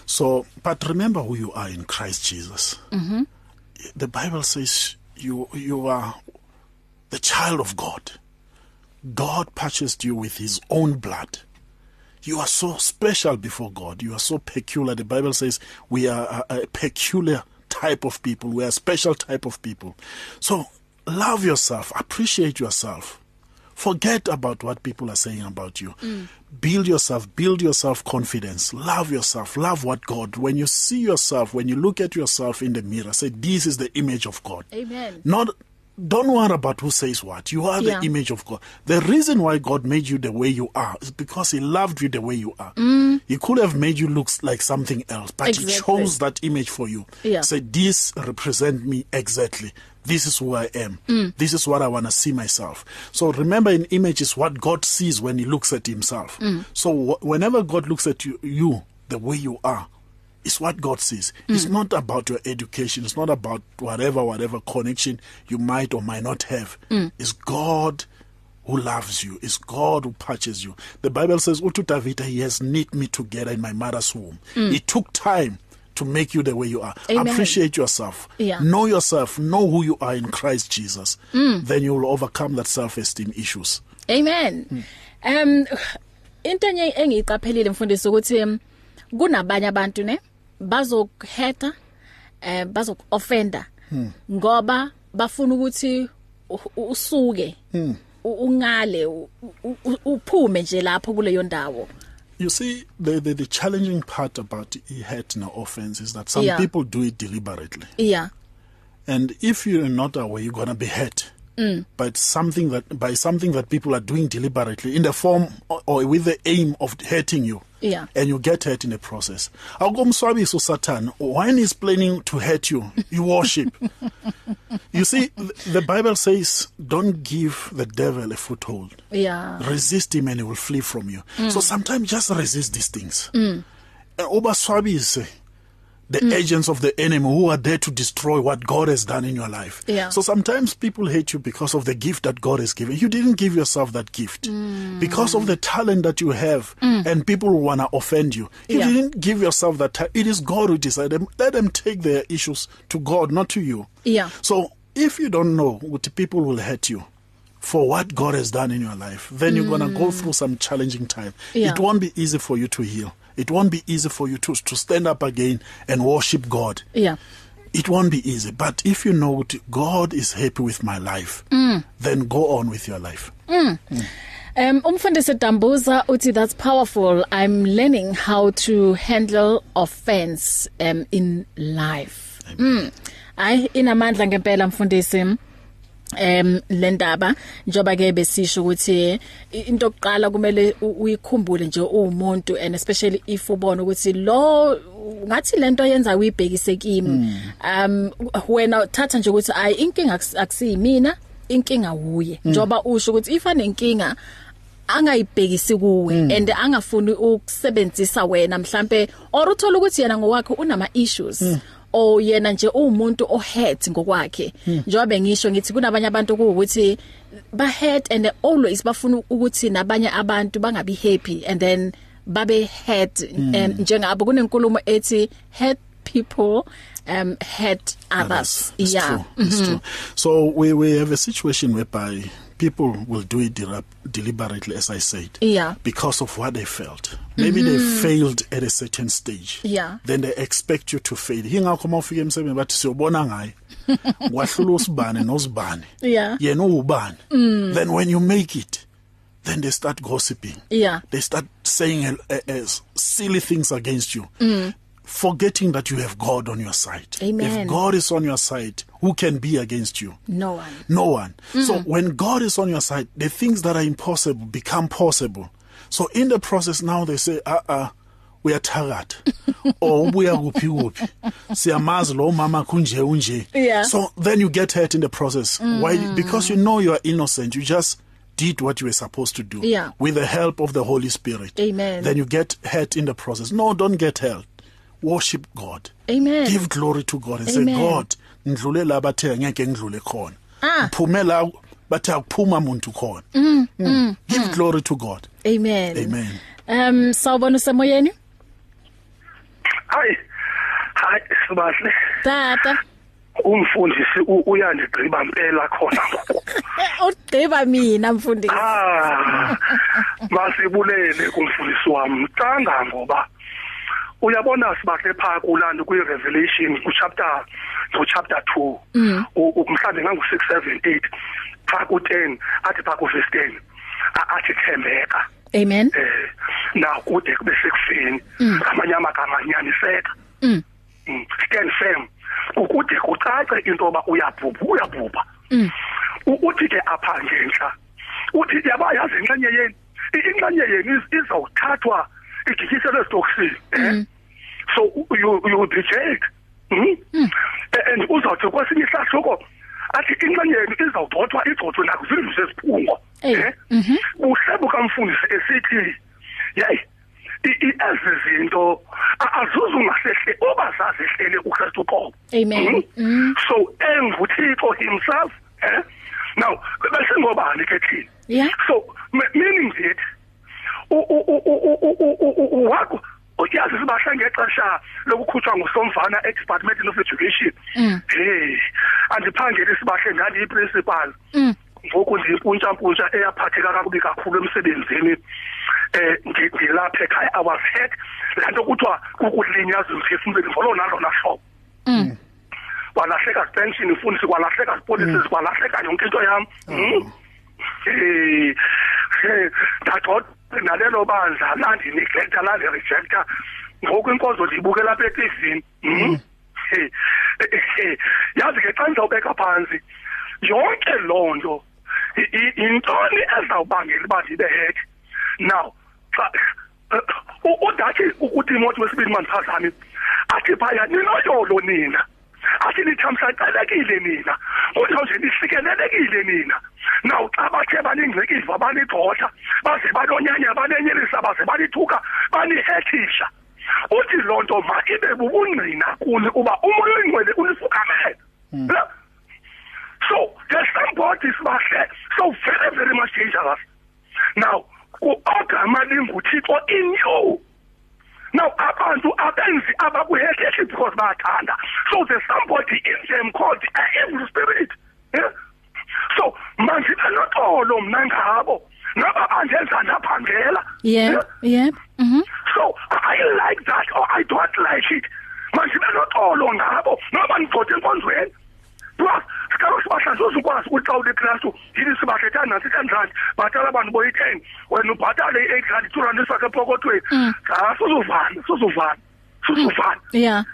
S3: So, but remember who you are in Christ Jesus. Mm-hmm. The Bible says you you are the child of God. God purchased you with His own blood. You are so special before God. You are so peculiar. The Bible says we are a, a peculiar type of people. We are a special type of people. So love yourself. Appreciate yourself. Forget about what people are saying about you. Build yourself, build yourself confidence. Love yourself, love what God. When you see yourself, when you look at yourself in the mirror, say, This is the image of God.
S2: Amen.
S3: Not don't worry about who says what. You are
S2: Yeah.
S3: the image of God. The reason why God made you the way you are is because He loved you the way you are. He could have made you look like something else, but He
S2: Mm. Exactly.
S3: chose that image for you.
S2: Yeah.
S3: Say, This represent me exactly. This is who I am. This is what I want to see myself. So remember, an image is what God sees when He looks at Himself. So wh- whenever God looks at you, you the way you are, it's what God sees. It's not about your education. It's not about whatever, whatever connection you might or might not have. It's God who loves you. It's God who purchases you. The Bible says, Utu Davita, He has knit me together in my mother's womb. He took time to make you the way you are.
S2: Amen.
S3: Appreciate yourself.
S2: Yeah.
S3: Know yourself. Know who you are in Christ Jesus.
S2: Mm.
S3: Then you will overcome that self esteem issues.
S2: Amen. Um into enye engiqaphelile mfundisi ukuthi um, kunabanye abantu ne bazokuheta eh bazokuoffenda ngoba bafuna ukuthi u- u- usuke u- ungale u- u- u- uphume nje lapho kuleyo ndawo.
S3: You see, the, the, the challenging part about hate and offense is that some
S2: Yeah.
S3: people do it deliberately.
S2: Yeah.
S3: And if you're not aware, you're gonna be hurt by something that by something that people are doing deliberately in the form or, or with the aim of hurting you.
S2: Yeah.
S3: And you get hurt in the process. Agomswabiso Satan, when he's planning to hurt you, you worship. you see, th- the Bible says, "Don't give the devil a foothold."
S2: Yeah.
S3: resist him and he will flee
S2: Mm.
S3: from you so sometimes just resist these things mm. Eh, ubaswabise the agents of the enemy who are there to destroy what God has done in your life.
S2: Yeah.
S3: So sometimes people hate you because of the gift that God has given. You didn't give yourself that gift.
S2: Mm.
S3: Because of the talent that you have and people want to offend you. You
S2: Yeah.
S3: didn't give yourself that talent. It is God who decided. Let them take their issues to God, not to you.
S2: Yeah.
S3: So if you don't know what people will hurt you for what God has done in your life, then you're going to go through some challenging time.
S2: Yeah.
S3: It won't be easy for you to heal. It won't be easy for you to, to stand up again and worship God.
S2: Yeah.
S3: It won't be easy. But if you know what God is happy with my life, then go on with your life.
S2: Um umfundisi Dambuza uthi that's powerful. I'm learning how to handle offense um in life. Mm. Ay inamandla ngempela mfundisi. um, em lendaba njoba ke besisho ukuthi i- into yokuqala kumele u- uyikhumbule nje umuntu and especially if ubona ukuthi lo ngathi lento yenza uyibhekise kimi um wena thatha nje ukuthi ayi inkinga akusi- akusiyimina inkinga uye njoba usho ukuthi if anenkinga angayibhekisi
S3: Hmm.
S2: kuwe and angafuni ukusebenzisa wena mhlambe or uthola ukuthi yena ngowakhe unama issues
S3: Hmm.
S2: o yena nje umuntu ohead ngokwakhe
S3: Hmm.
S2: njengoba ngisho ngithi kunabanye abantu ukuthi ba head and they always bafuna ukuthi nabanye abantu bangabi happy and then babe head
S3: Hmm.
S2: um, njengabo kunenkulumo ethi head people um hurt others
S3: It's
S2: yeah Mm-hmm.
S3: true. It's true. So we, we have a situation whereby people will do it derap- deliberately, as I said.
S2: Yeah. Mm-hmm.
S3: Because of what they felt. Maybe they failed at a certain stage.
S2: Yeah.
S3: Then they expect you to fail. Yingakho mawufika emsebenzini bathi siyobona ngaye. Wahlula usibane nosibane.
S2: Yeah. Mm.
S3: Yena ubani. Then when you make it, then they start gossiping.
S2: Yeah.
S3: They start saying uh, uh, silly things against you. Forgetting that you have God on your side.
S2: Mm. Amen.
S3: If God is on your side, who can be against you?
S2: no one
S3: No one. So
S2: Mm.
S3: when God is on your side, the things that are impossible become possible. So in the process now they say, uh uh we are tired. or we are whoopee whoopee. Siyamazi lo mama kunje unje.
S2: Yeah. Mm.
S3: So then you get hurt in the process. Why? Because you know you are innocent. You just did what you were supposed to do.
S2: Yeah.
S3: With the help of the Holy Spirit.
S2: Amen.
S3: Then you get hurt in the process. No, don't get hurt. Worship God.
S2: Amen.
S3: Give glory to God and
S2: Amen.
S3: say, God, ngidlule la bathe ngeke ngidlule khona. Ngiphume la bathe akuphuma umuntu khona. Ah. Mm. Give glory to God.
S2: amen
S3: Amen.
S2: um sawubona usemoyeni
S6: hayi hayi sibahle
S2: tata
S6: umfundisi u- uyandigqiba mpela khona ngoku
S2: udeba Eh, mina mfundisi
S6: ah masibulele kumfundisi wam kangangoba uyabona sibahle phaa kulando kwi-revelation kuchapter kuchapter two U- u- mhlawumbi ngangu-six seven eight phaa ku-ten athi phaa ku-verse ten a- athi thembeka
S2: amen
S6: eh na kude kube sekufeni ngamanye amagama anyaniseka Mm. stand firm ukude kucace into yoba uyabhubha uyabhubha U- uthi ke apha ngentla uthi yaba yazi inxenye yenu I- inxenye yenu iz- izawuthathwa igityiselwe ezitoksini eh? so u- you you will be jailed Mhm. A- and uzawuthi kwesinye isahluko athi inxenye yenu izawugxothwa igxothwe nakwizindlu zeziphungo
S2: Eyi,
S6: eh? buhle bukamfundisi esithi yayi i- i- ezi zinto a- azuzu ngasehle uba zazehlele ukrestu uqobo
S2: Amen.
S6: Mhm. so enguthixo himself eh? now besingobani ke thina
S2: Yeah.
S6: so me- meaning it u- u- u- u- u- u- u- u- u- wakho uyazi sibahle ngexesha lokukhutshwa ngusomvana edepartmentini of education hey andiphangeli sibahle ndandiyiprincipal ngoku ndiyimpuntshampuntsha eyaphatheka kakubi kakhulu emsebenzini um ndilapha ekhaya i was hurt laa nto kuthiwa kukulinyazwa emphefumlweni ngolona lona hlobo kwalahleka zipension imfundisi kwalahleka zipolicies kwalahleka yonke into yam Mhm. Eh, eh, ndagxothwa nalelo bandla landiniglektha landirejecta ngoku inkonzo ndiyibukela apha etivini Mhm. Eh, eh, eh, yazi ke xa ndizawubeka phantsi yonke loo nto i- i- yintoni ezawubangela uba ndibe heke now xa eh, u- udathi utimoti wesibini mandiphazami athi phaya ninoyolo nina athi nithamsanqelekile nina kunjalo nje nisikelelekile nina naw xa bathe baningcikiva banigxotha baze banonyanya banenyelisa baze banithuka banihethisha othi loo nto ma ibe bubungqina kuni uba umoya oyingcwele unisukamele so there's some bodies bahle so very very much dangerous now ku-ogama linguthixo inew now abantu abenzi abakuhekeshi because bayathanda so there's somebody in them called the evil spirit yeah? so manje benoxolo mna ngabo naba andenza naphangela Eh?
S2: Yep, yep. Mhm.
S6: so I like that or I don't like it. Manje benoxolo ngabo noma nigcothe enkonzweni. Plus sikalo sibahlanze uzukwazi ukuthi xa ulikristu yini sibahletha nansi kanjani bhatala abantu boyi-ten wena ubhatale i-eight rand two rand isakhe epokothweni ha suzuvana suzuvana suzuvana
S2: Yeah.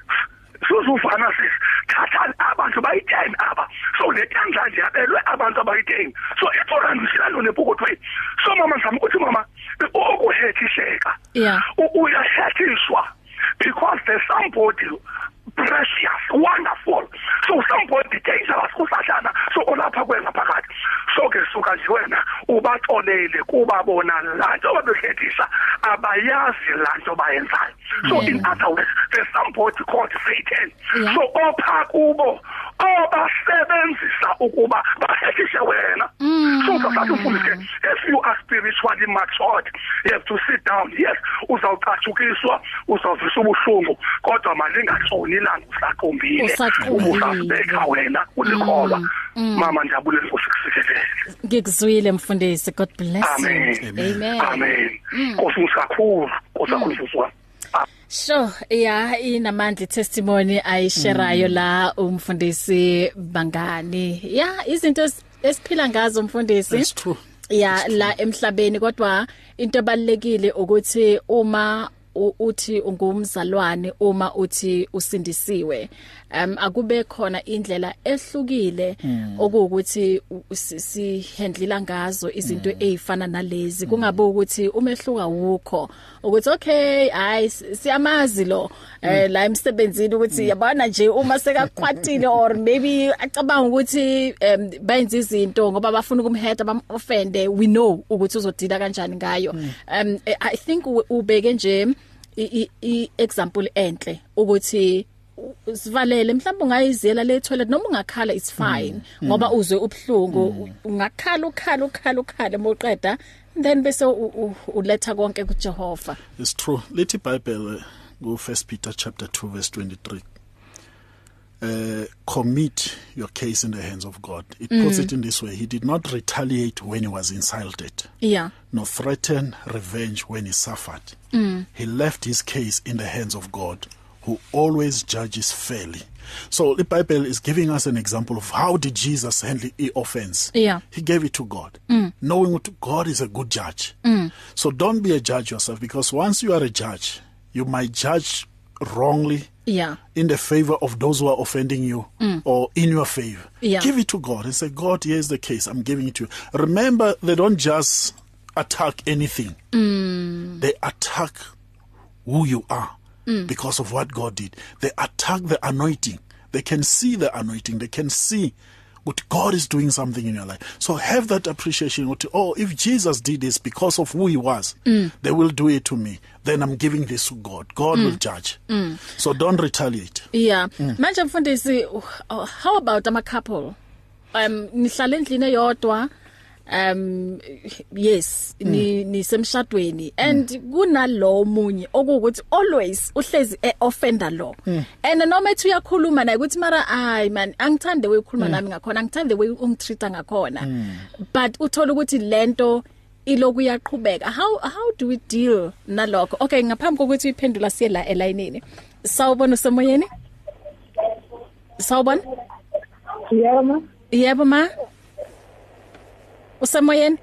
S6: suzuvana sisi thathani abantu bayi-ten aba so netyanjanje abelwe abantu abayi-ten so i-two rand usilalo nepokothweni so mama ndizama ukuthi mama ukuhethisheka
S2: Yeah.
S6: U- uyahlatshiswa because there's somebody precious wonderful so somebody dangerous kusahlana so olapha kwena phakathi so ke suka nje wena ubaxolele kuba bona laa nto babehlethisa abayazi laa nto bayenzayo so in other words there's somebody called satan
S2: Yeah.
S6: so opha kubo obasebenzisa ukuba bahlethishe wena so sasathi mfundisi ke if you are spiritually matured you have to sit down yes uzawucatshukiswa uzawuvisa ubuhlungu kodwa malingatshoni ilanga usaqumbile
S2: Usaqumbile.
S6: ubusasibeka wena ulikholwa mama ndiyabulela nkosi kusikelele
S2: Ngikuzwile mfundisi. God bless you.
S6: amen amen nkosi mfundisi kakhulu nkosi kakhulu mfundisi wami
S2: Sure, yeah, inamandla testimony
S3: Mm.
S2: ayisherayo la umfundisi Bangani. Yeah, izinto es- esiphila ngazo umfundisi.
S3: That's true.
S2: ya la emhlabeni kodwa into ebalekile ukuthi uma u- uthi ungumzalwane uma uthi usindisiwe um akube khona indlela ehlukile
S3: Mm.
S2: okuwukuthi u- si- sihandlela ngazo
S3: Mm.
S2: izinto ezifana nalezi kungabe ukuthi umehluka wukho ukuthi okay hayi si- siyamazi lo eh, la emsebenzini ukuthi yabona nje uma sekakwatile or maybe acabanga ukuthi um bayenza izinto ngoba bafuna ukumhead bam offende we know ukuthi uzodila kanjani ngayo um eh, i think u- ubeke nje i- i- i example enhle ukuthi u- sivalele mhlawumbe ungayizela le toilet noma ungakhala it's fine ngoba uzwe ubhlungu ungakhala ukhala ukhala ukhala moqeda then bese u- u- uletha konke kuJehova
S3: It's true. Lithi iBhayibheli go 1 Peter chapter 2 verse 23. Uh, commit your case in the hands of God. It mm. puts it in this way. He did not retaliate when he was insulted,
S2: yeah
S3: nor threaten revenge when he suffered. Mm. He left his case in the hands of God, who always judges fairly. So the Bible is giving us an example of how did Jesus handle the offense.
S2: Yeah.
S3: He gave it to God, knowing that God is a good judge. So don't be a judge yourself because once you are a judge, you might judge wrongly
S2: yeah
S3: in the favor of those who are offending you or in your favor.
S2: Yeah.
S3: Give it to God and say, God, here's the case. I'm giving it to you. Remember, they don't just attack anything, they attack who you are because of what God did. They attack the anointing. They can see the anointing. They can see what God is doing something in your life. So have that appreciation. what, Oh, if Jesus did this because of who he was, they will do it to me. Then I'm giving this to God. God will judge. So don't retaliate.
S2: Yeah. Manje mfundisi uh, how about ama couple? Um nihlala endlini eyodwa. Um yes, ni nisemshadweni and kunalo munye okuwukuthi always uhlezi eoffender lo. And noma ethi uyakhuluma naye ukuthi mara ay man angithande wekhuluma nami ngakhona, angithande we ungitreata ngakhona. But uthola ukuthi lento iloku yaqhubeka how how do we deal nalokho okay ngaphambi kokuthi uyiphendula siye la elayinini sawubona usemoyeni sawubona
S7: Yebo.
S2: yebo ma usemoyeni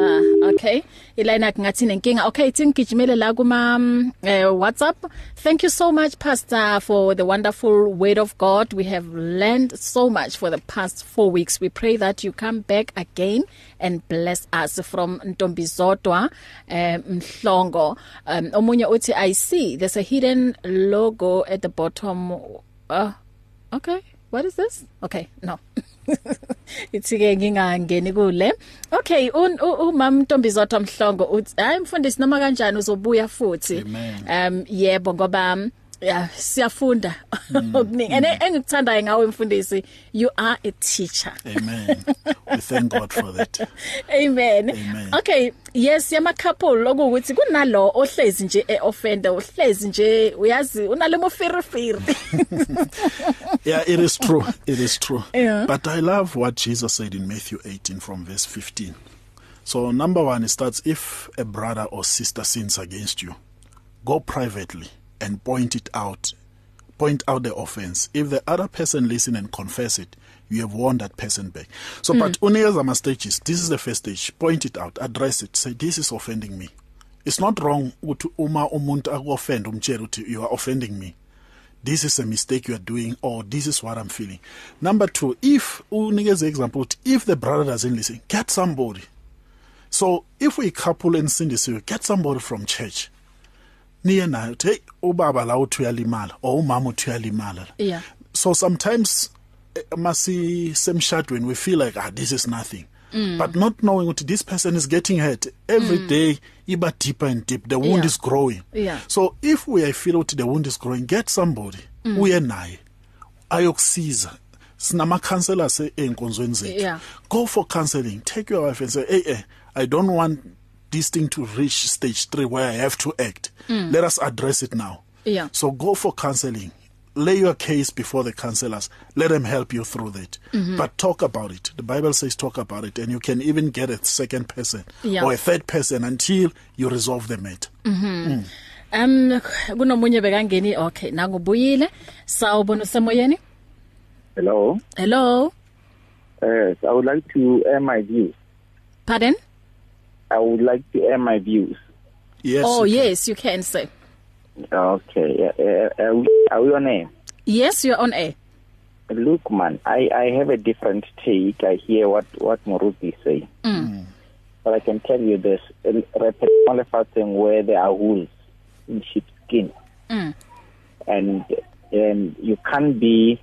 S2: ah okay ilayina kungathi nenkinga okay ithi ngigijimele la kuma mm, eh, WhatsApp thank you so much pastor for the wonderful word of God we have learned so much for the past 4 weeks we pray that you come back again and bless us from Ntombizodwa eh, Mhlongo um, omunye uthi i see there's a hidden logo at the bottom uh, okay What is this? Okay, no. Itsike ngingangeni kule. Okay, un u- umam Ntombizotho Mhlongo uthi hayi mfundisi noma kanjani uzobuya futhi.
S3: Amen.
S2: Um yebo ngoba um, yeah, siyafunda
S3: Mm.
S2: okuningi. And engikuthandayo ngawe mfundisi, you are a teacher.
S3: Amen. we thank God for that.
S2: Amen.
S3: Amen.
S2: Okay, yes yama couple lokuthi kunalo ohlezi nje eoffender, ohlezi nje uyazi unalemo firifiri.
S3: Yeah, it is true. It is true.
S2: Yeah.
S3: But I love what Jesus said in Matthew 18 from verse 15. So, number one, it starts if a brother or sister sins against you, go privately and point it out. Point out the offense. If the other person listen and confess it, you have won that person back. So, but uniyazama stages. This is the first stage. Point it out. Address it. Say, this is offending me. It's not wrong ukuthi uma umuntu aku-offend umtshela ukuthi you are offending me. this is a mistake you are doing or this is what I'm feeling. Number two, if unikeze example, uthi if the brother doesn't listen, get somebody. So if we couple and sin this, get somebody from church. Niye nayo uthi hey ubaba la uthi uyalimala or umama uthi uyalimala.
S2: Yeah.
S3: So sometimes eh, masi semshadweni we feel like ah this is nothing. Mm. But not knowing what this person is getting hurt every mm. day, iba deeper and deep. The wound
S2: Yeah.
S3: yeah. is growing.
S2: Yeah.
S3: So if we are feel ukuthi the wound is growing, get somebody mm. uye naye ayokusiza. Sinama counselors eh, enkonzweni zethu.
S2: Yeah.
S3: Go for counseling. Take your wife and say, "Hey, hey I don't want this thing to reach stage 3 where I have to act. Mm. Let us address it now."
S2: Yeah.
S3: So go for counseling. Lay your case before the counselors. Let them help you through that. Mm-hmm. But talk about it. The Bible says talk about it, and you can even get a second person
S2: Yeah. Oh,
S3: or a third person until you resolve the matter.
S2: Um kunomunye bekangeni okay nangubuyile sawubona usemoyeni
S8: Hello.
S2: hello
S8: Yes, I would like to air my views.
S2: pardon
S8: I would like to air my views.
S3: Yes.
S2: oh
S3: you can.
S2: yes you can say
S8: Okay. Uh, uh, uh, are we on air?
S2: yes you're on air
S8: Look, man, I, I have a different take. I hear what, what Moruti say. Mm. But I can tell you this. Repetition where there are wolves in sheepskin. Mm. And, and you can't be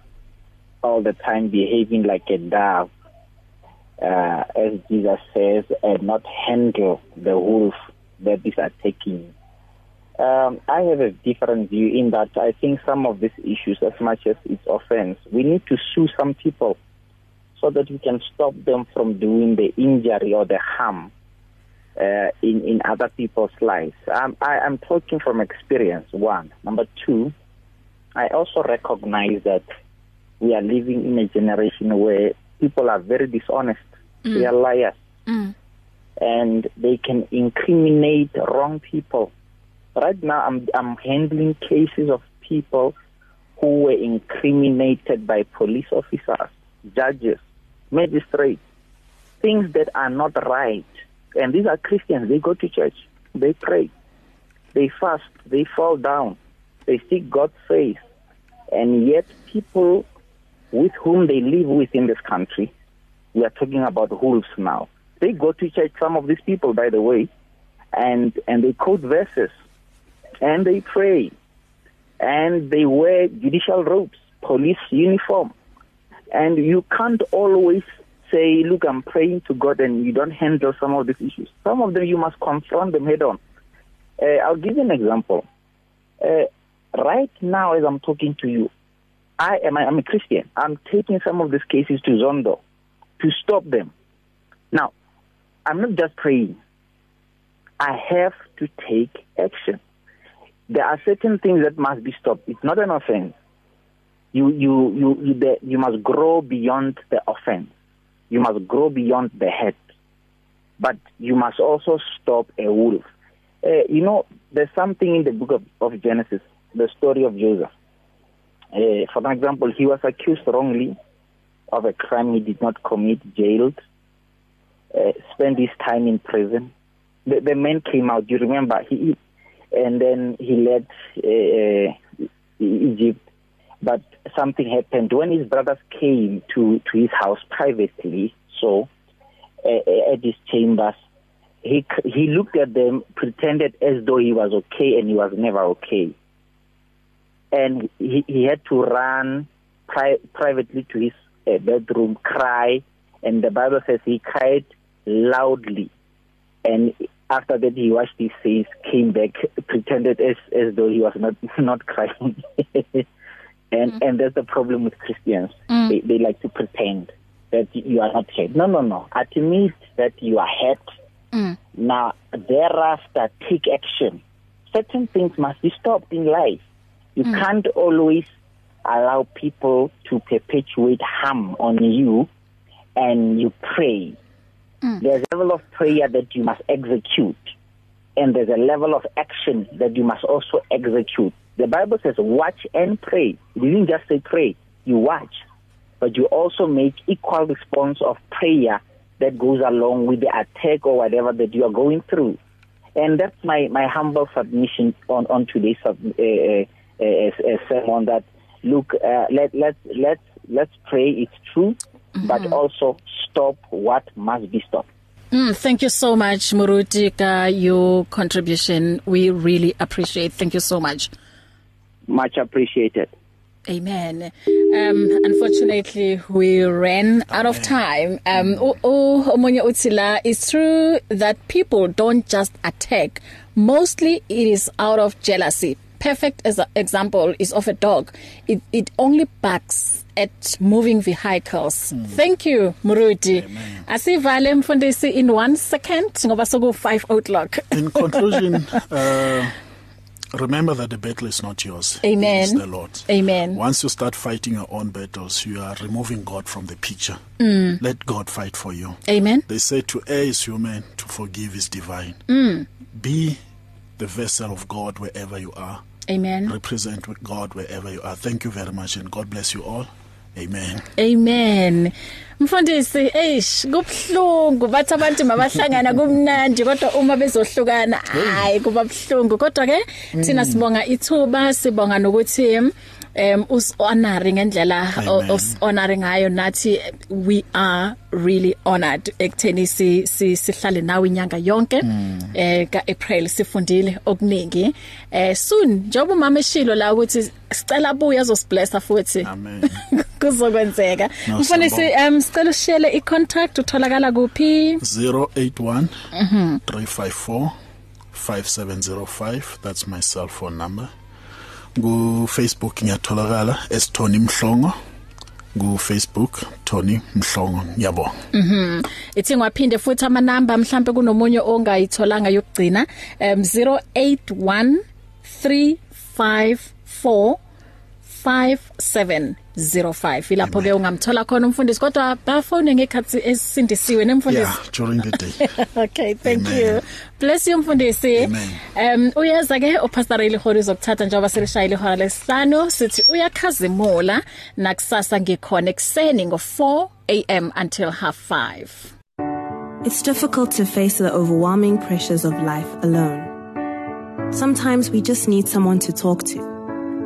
S8: all the time behaving like a dove, uh, as Jesus says, and not handle the wolf that is attacking you. Um, I have a different view in that I think some of these issues, as much as it's offense, we need to sue some people so that we can stop them from doing the injury or the harm uh, in, in other people's lives. Um, I, I'm talking from experience, one. Number two, I also recognize that we are living in a generation where people are very dishonest, they are liars, and they can incriminate wrong people right now I'm I'm handling cases of people who were incriminated by police officers, judges, magistrates, things that are not right. And these are Christians. They go to church, they pray, they fast, they fall down, they seek God's face, and yet people with whom they live with in this country, we are talking about wolves now. They go to church. Some of these people, by the way, and and they quote verses and they pray and they wear judicial robes, police uniform. And you can't always say, Look, I'm praying to God, and you don't handle some of these issues. Some of them you must confront them head on. Uh, I'll give you an example. Uh, right now, as I'm talking to you, I am I'm a Christian. I'm taking some of these cases to Zondo to stop them. Now, I'm not just praying. I have to take action there are certain things that must be stopped. It's not an offense. You you you you, the, you must grow beyond the offense. You must grow beyond the hate. But you must also stop a wolf. Uh, you know, there's something in the book of, of Genesis, the story of Joseph. Uh, for example, he was accused wrongly of a crime he did not commit, jailed, uh, spent his time in prison. The, the man came out. You remember, he and then he left uh, uh, Egypt. But something happened when his brothers came to to his house privately. So uh, at his chambers, he c- he looked at them, pretended as though he was okay, and he was never okay. And he, he had to run pri- privately to his uh, bedroom, cry, and the Bible says he cried loudly. And after that, he washed his face, came back, pretended as as though he was not not crying. and mm. and that's the problem with Christians. Mm. They they like to pretend that you are not hurt. No, no, no. Admit that you are hurt. Mm. Now thereafter, take action. Certain things must be stopped in life. You mm. can't always allow people to perpetuate harm on you, and you pray. Mm. There's a level of prayer that you must execute, and there's a level of action that you must also execute. The Bible says, watch and pray. You didn't just say pray, you watch. But you also make equal response of prayer that goes along with the attack or whatever that you are going through. And that's my, my humble submission on, on today's sub, uh, uh, uh, sermon that, look, uh, let, let, let, let's pray, it's true, mm-hmm. but also stop what must be stopped.
S2: Mm, thank you so much, Murutika. Your contribution, we really appreciate. Thank you so much.
S8: Much appreciated.
S2: Amen. Um unfortunately we ran out of time. Um oh omunye utsila it's true that people don't just attack. Mostly it is out of jealousy. Perfect as an example is of a dog. It it only barks at moving vehicles. Mm. Thank you Muruti. Asivale mfundisi in 1 second ngoba soku 5 o'clock.
S3: In conclusion uh remember that the battle is not yours.
S2: Amen.
S3: It's the Lord.
S2: Amen.
S3: Once you start fighting your own battles, you are removing God from the picture. Mm. Let God fight for you.
S2: Amen.
S3: They say to err is human, to forgive is divine. Mm. Be the vessel of God wherever you are.
S2: Amen.
S3: Represent God wherever you are. Thank you very much and God bless you all. Amen.
S2: Amen. Mfundisi, eish, kubhlungu bathi abantu mabahlangana kumnandi kodwa uma bezohlukana hayi kuba bhlungu kodwa ke thina sibonga ithuba sibonga nokuthi um us honoring ngendlela us honoring ngayo nathi we are really honored ekutheni si sihlale nawe inyanga yonke eh ka April sifundile okuningi eh soon njengoba umama eshilo la ukuthi sicela buya azosiblessa futhi
S3: Amen.
S2: kuzokwenzeka
S3: No,
S2: mfundisi um sicela ushele icontact utholakala kuphi
S3: 081 354 5705 that's my cell phone number ku Facebook ngiyatholakala as Tony Mhlongo ku Facebook Tony Mhlongo ngiyabonga
S2: ithi ngiwaphinde futhi ama number mhlambe kunomunye ongayitholanga yokugcina um 081 354 5705 ilapho ke ungamthola khona umfundisi kodwa bafone ngekhathi esindisiwe nemfundisi
S3: yeah during the day
S2: okay thank
S3: Amen.
S2: you bless you mfundisi
S3: Amen.
S2: um uyeza ke upastor Riley Hori uzokuthatha njengoba selishayile ihora lesihlanu sithi uyakhazimula nakusasa ngikhona ekseni ngo4 am until half 5
S9: It's difficult to face the overwhelming pressures of life alone. Sometimes we just need someone to talk to,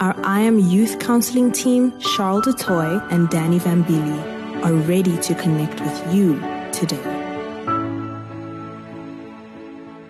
S9: Our I Am Youth Counseling team, Charles DeToy and Danny Vambili, are ready to connect with you today.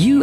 S4: You